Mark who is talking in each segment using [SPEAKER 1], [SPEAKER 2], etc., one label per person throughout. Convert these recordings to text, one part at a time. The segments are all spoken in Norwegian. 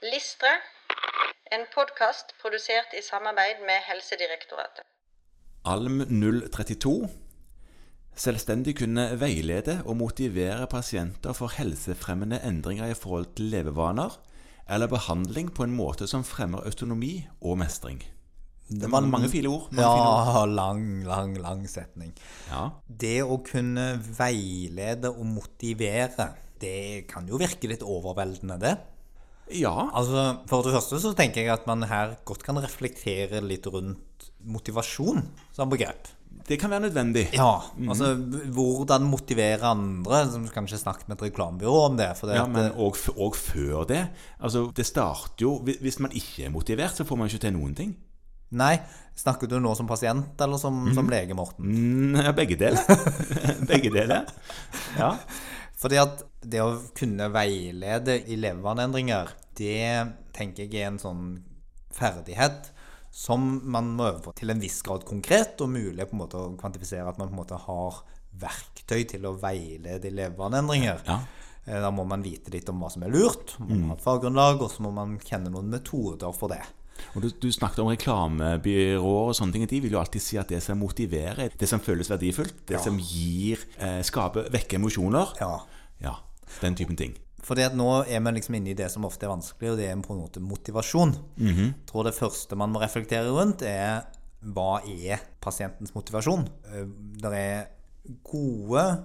[SPEAKER 1] Listre, en podkast produsert i samarbeid med Helsedirektoratet.
[SPEAKER 2] ALM 032 selvstendig kunne veilede og motivere pasienter for helsefremmende endringer i forhold til levevaner eller behandling på en måte som fremmer autonomi og mestring. Det var mange fine ord. Mange fine ord.
[SPEAKER 3] Ja, lang, lang, lang setning.
[SPEAKER 2] Ja.
[SPEAKER 3] Det å kunne veilede og motivere, det kan jo virke litt overveldende, det.
[SPEAKER 2] ja.
[SPEAKER 3] Altså, For det første så tenker jeg at man her godt kan reflektere litt rundt motivasjon som begrep.
[SPEAKER 2] Det kan være nødvendig.
[SPEAKER 3] Ja, altså hvordan motivere andre. Som vi kanskje snakket med et reklamebyrå om det. For det
[SPEAKER 2] Ja,
[SPEAKER 3] at, eh,
[SPEAKER 2] men og, f- og før det. Altså, det starter jo hvi- Hvis man ikke er motivert, så får man ikke til noen ting.
[SPEAKER 3] Nei, snakker du nå som pasient eller som,
[SPEAKER 2] Mhm.
[SPEAKER 3] som lege, Morten?
[SPEAKER 2] Mm, ja, begge deler. begge deler. Ja.
[SPEAKER 3] Fordi at det å kunne veilede i levevaneendringer, det tenker jeg er en sånn ferdighet som man må øve på til en viss grad konkret, og mulig på en måte å kvantifisere at man på en måte har verktøy til å veilede i levevaneendringer.
[SPEAKER 2] Ja.
[SPEAKER 3] Eh, Da må man vite litt om hva som er lurt, man må ha et faggrunnlag, og så må man kjenne noen metoder for det.
[SPEAKER 2] Og du, du snakket om reklamebyråer og sånne ting. De vil jo alltid si at det som motiverer, det som føles verdifullt, det
[SPEAKER 3] Ja.
[SPEAKER 2] som gir, eh, skaper, vekker emosjoner.
[SPEAKER 3] Ja.
[SPEAKER 2] Ja, Den typen ting.
[SPEAKER 3] Fordi at nå er vi liksom inne i det som ofte er vanskelig, og det er på en måte motivasjon. Jeg tror det første man må reflektere rundt, er hva er pasientens motivasjon? Det er gode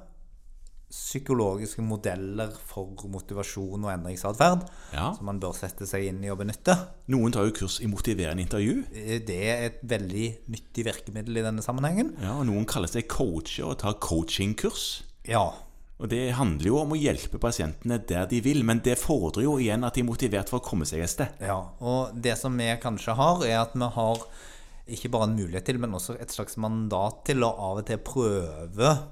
[SPEAKER 3] psykologiske modeller for motivasjon og endringsatferd
[SPEAKER 2] Ja.
[SPEAKER 3] som man bør sette seg inn i og benytte.
[SPEAKER 2] Noen tar jo kurs i motiverende intervju.
[SPEAKER 3] Eh, Det er et veldig nyttig virkemiddel i denne sammenhengen.
[SPEAKER 2] Ja, og Noen kaller seg coacher og tar coachingkurs.
[SPEAKER 3] Ja,
[SPEAKER 2] Og Det handler jo om å hjelpe pasientene der de vil, men det fordrer jo igjen at de er motivert for å komme seg et sted.
[SPEAKER 3] Ja, og det som vi kanskje har, er at vi har ikke bare en mulighet til, men også et slags mandat til å av og til prøve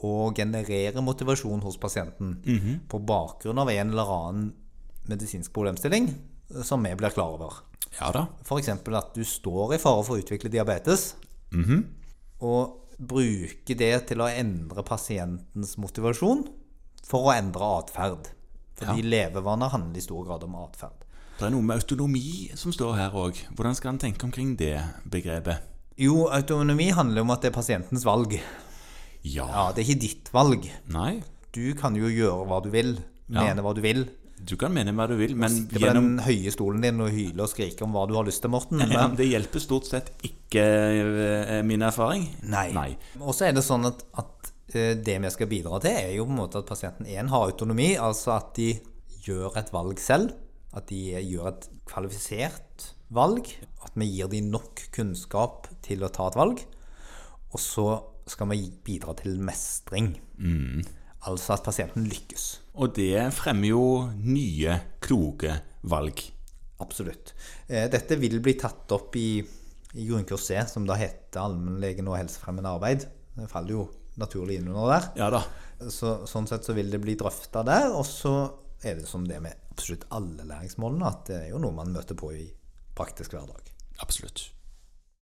[SPEAKER 3] å generere motivasjon hos pasienten på bakgrunn av en eller annen medisinsk problemstilling eh, som vi blir klar over.
[SPEAKER 2] Ja da.
[SPEAKER 3] F.eks. at du står i fare for å utvikle diabetes, og bruke det til å endre pasientens motivasjon for å endre atferd. Fordi levevaner handler i stor grad om atferd.
[SPEAKER 2] Det er noe med autonomi som står her òg. Hvordan skal en tenke omkring det begrepet?
[SPEAKER 3] Jo, autonomi handler om at det er pasientens valg.
[SPEAKER 2] Ja.
[SPEAKER 3] Ja, Det er ikke ditt valg.
[SPEAKER 2] Nei.
[SPEAKER 3] Du kan jo gjøre hva du vil,
[SPEAKER 2] Ja.
[SPEAKER 3] mene hva du vil.
[SPEAKER 2] Du kan mene hva du vil, men
[SPEAKER 3] Sitte på
[SPEAKER 2] gjennom
[SPEAKER 3] den høye stolen din og hyle og skrike om hva du har lyst til, Morten.
[SPEAKER 2] ja,
[SPEAKER 3] Men,
[SPEAKER 2] Det hjelper stort sett ikke eh, min erfaring.
[SPEAKER 3] nei.
[SPEAKER 2] Nei.
[SPEAKER 3] Og så er det sånn at, at eh, det vi skal bidra til, er jo på en måte at pasienten én har autonomi, altså at de gjør et valg selv. At de gjør et kvalifisert valg. At vi gir dem nok kunnskap til å ta et valg. Og så skal vi bidra til mestring. Altså at pasienten lykkes.
[SPEAKER 2] Og det fremmer jo nye, kloke valg.
[SPEAKER 3] Absolutt. Eh, Dette vil bli tatt opp i, i grunnkurs C, som da heter allmennlegen og helsefremmende arbeid. Det faller jo naturlig inn under der.
[SPEAKER 2] Ja da.
[SPEAKER 3] Så, sånn sett så vil det bli drøfta der. Og så er det som det med absolutt alle læringsmålene, at det er jo noe man møter på i praktisk hverdag.
[SPEAKER 2] Absolutt.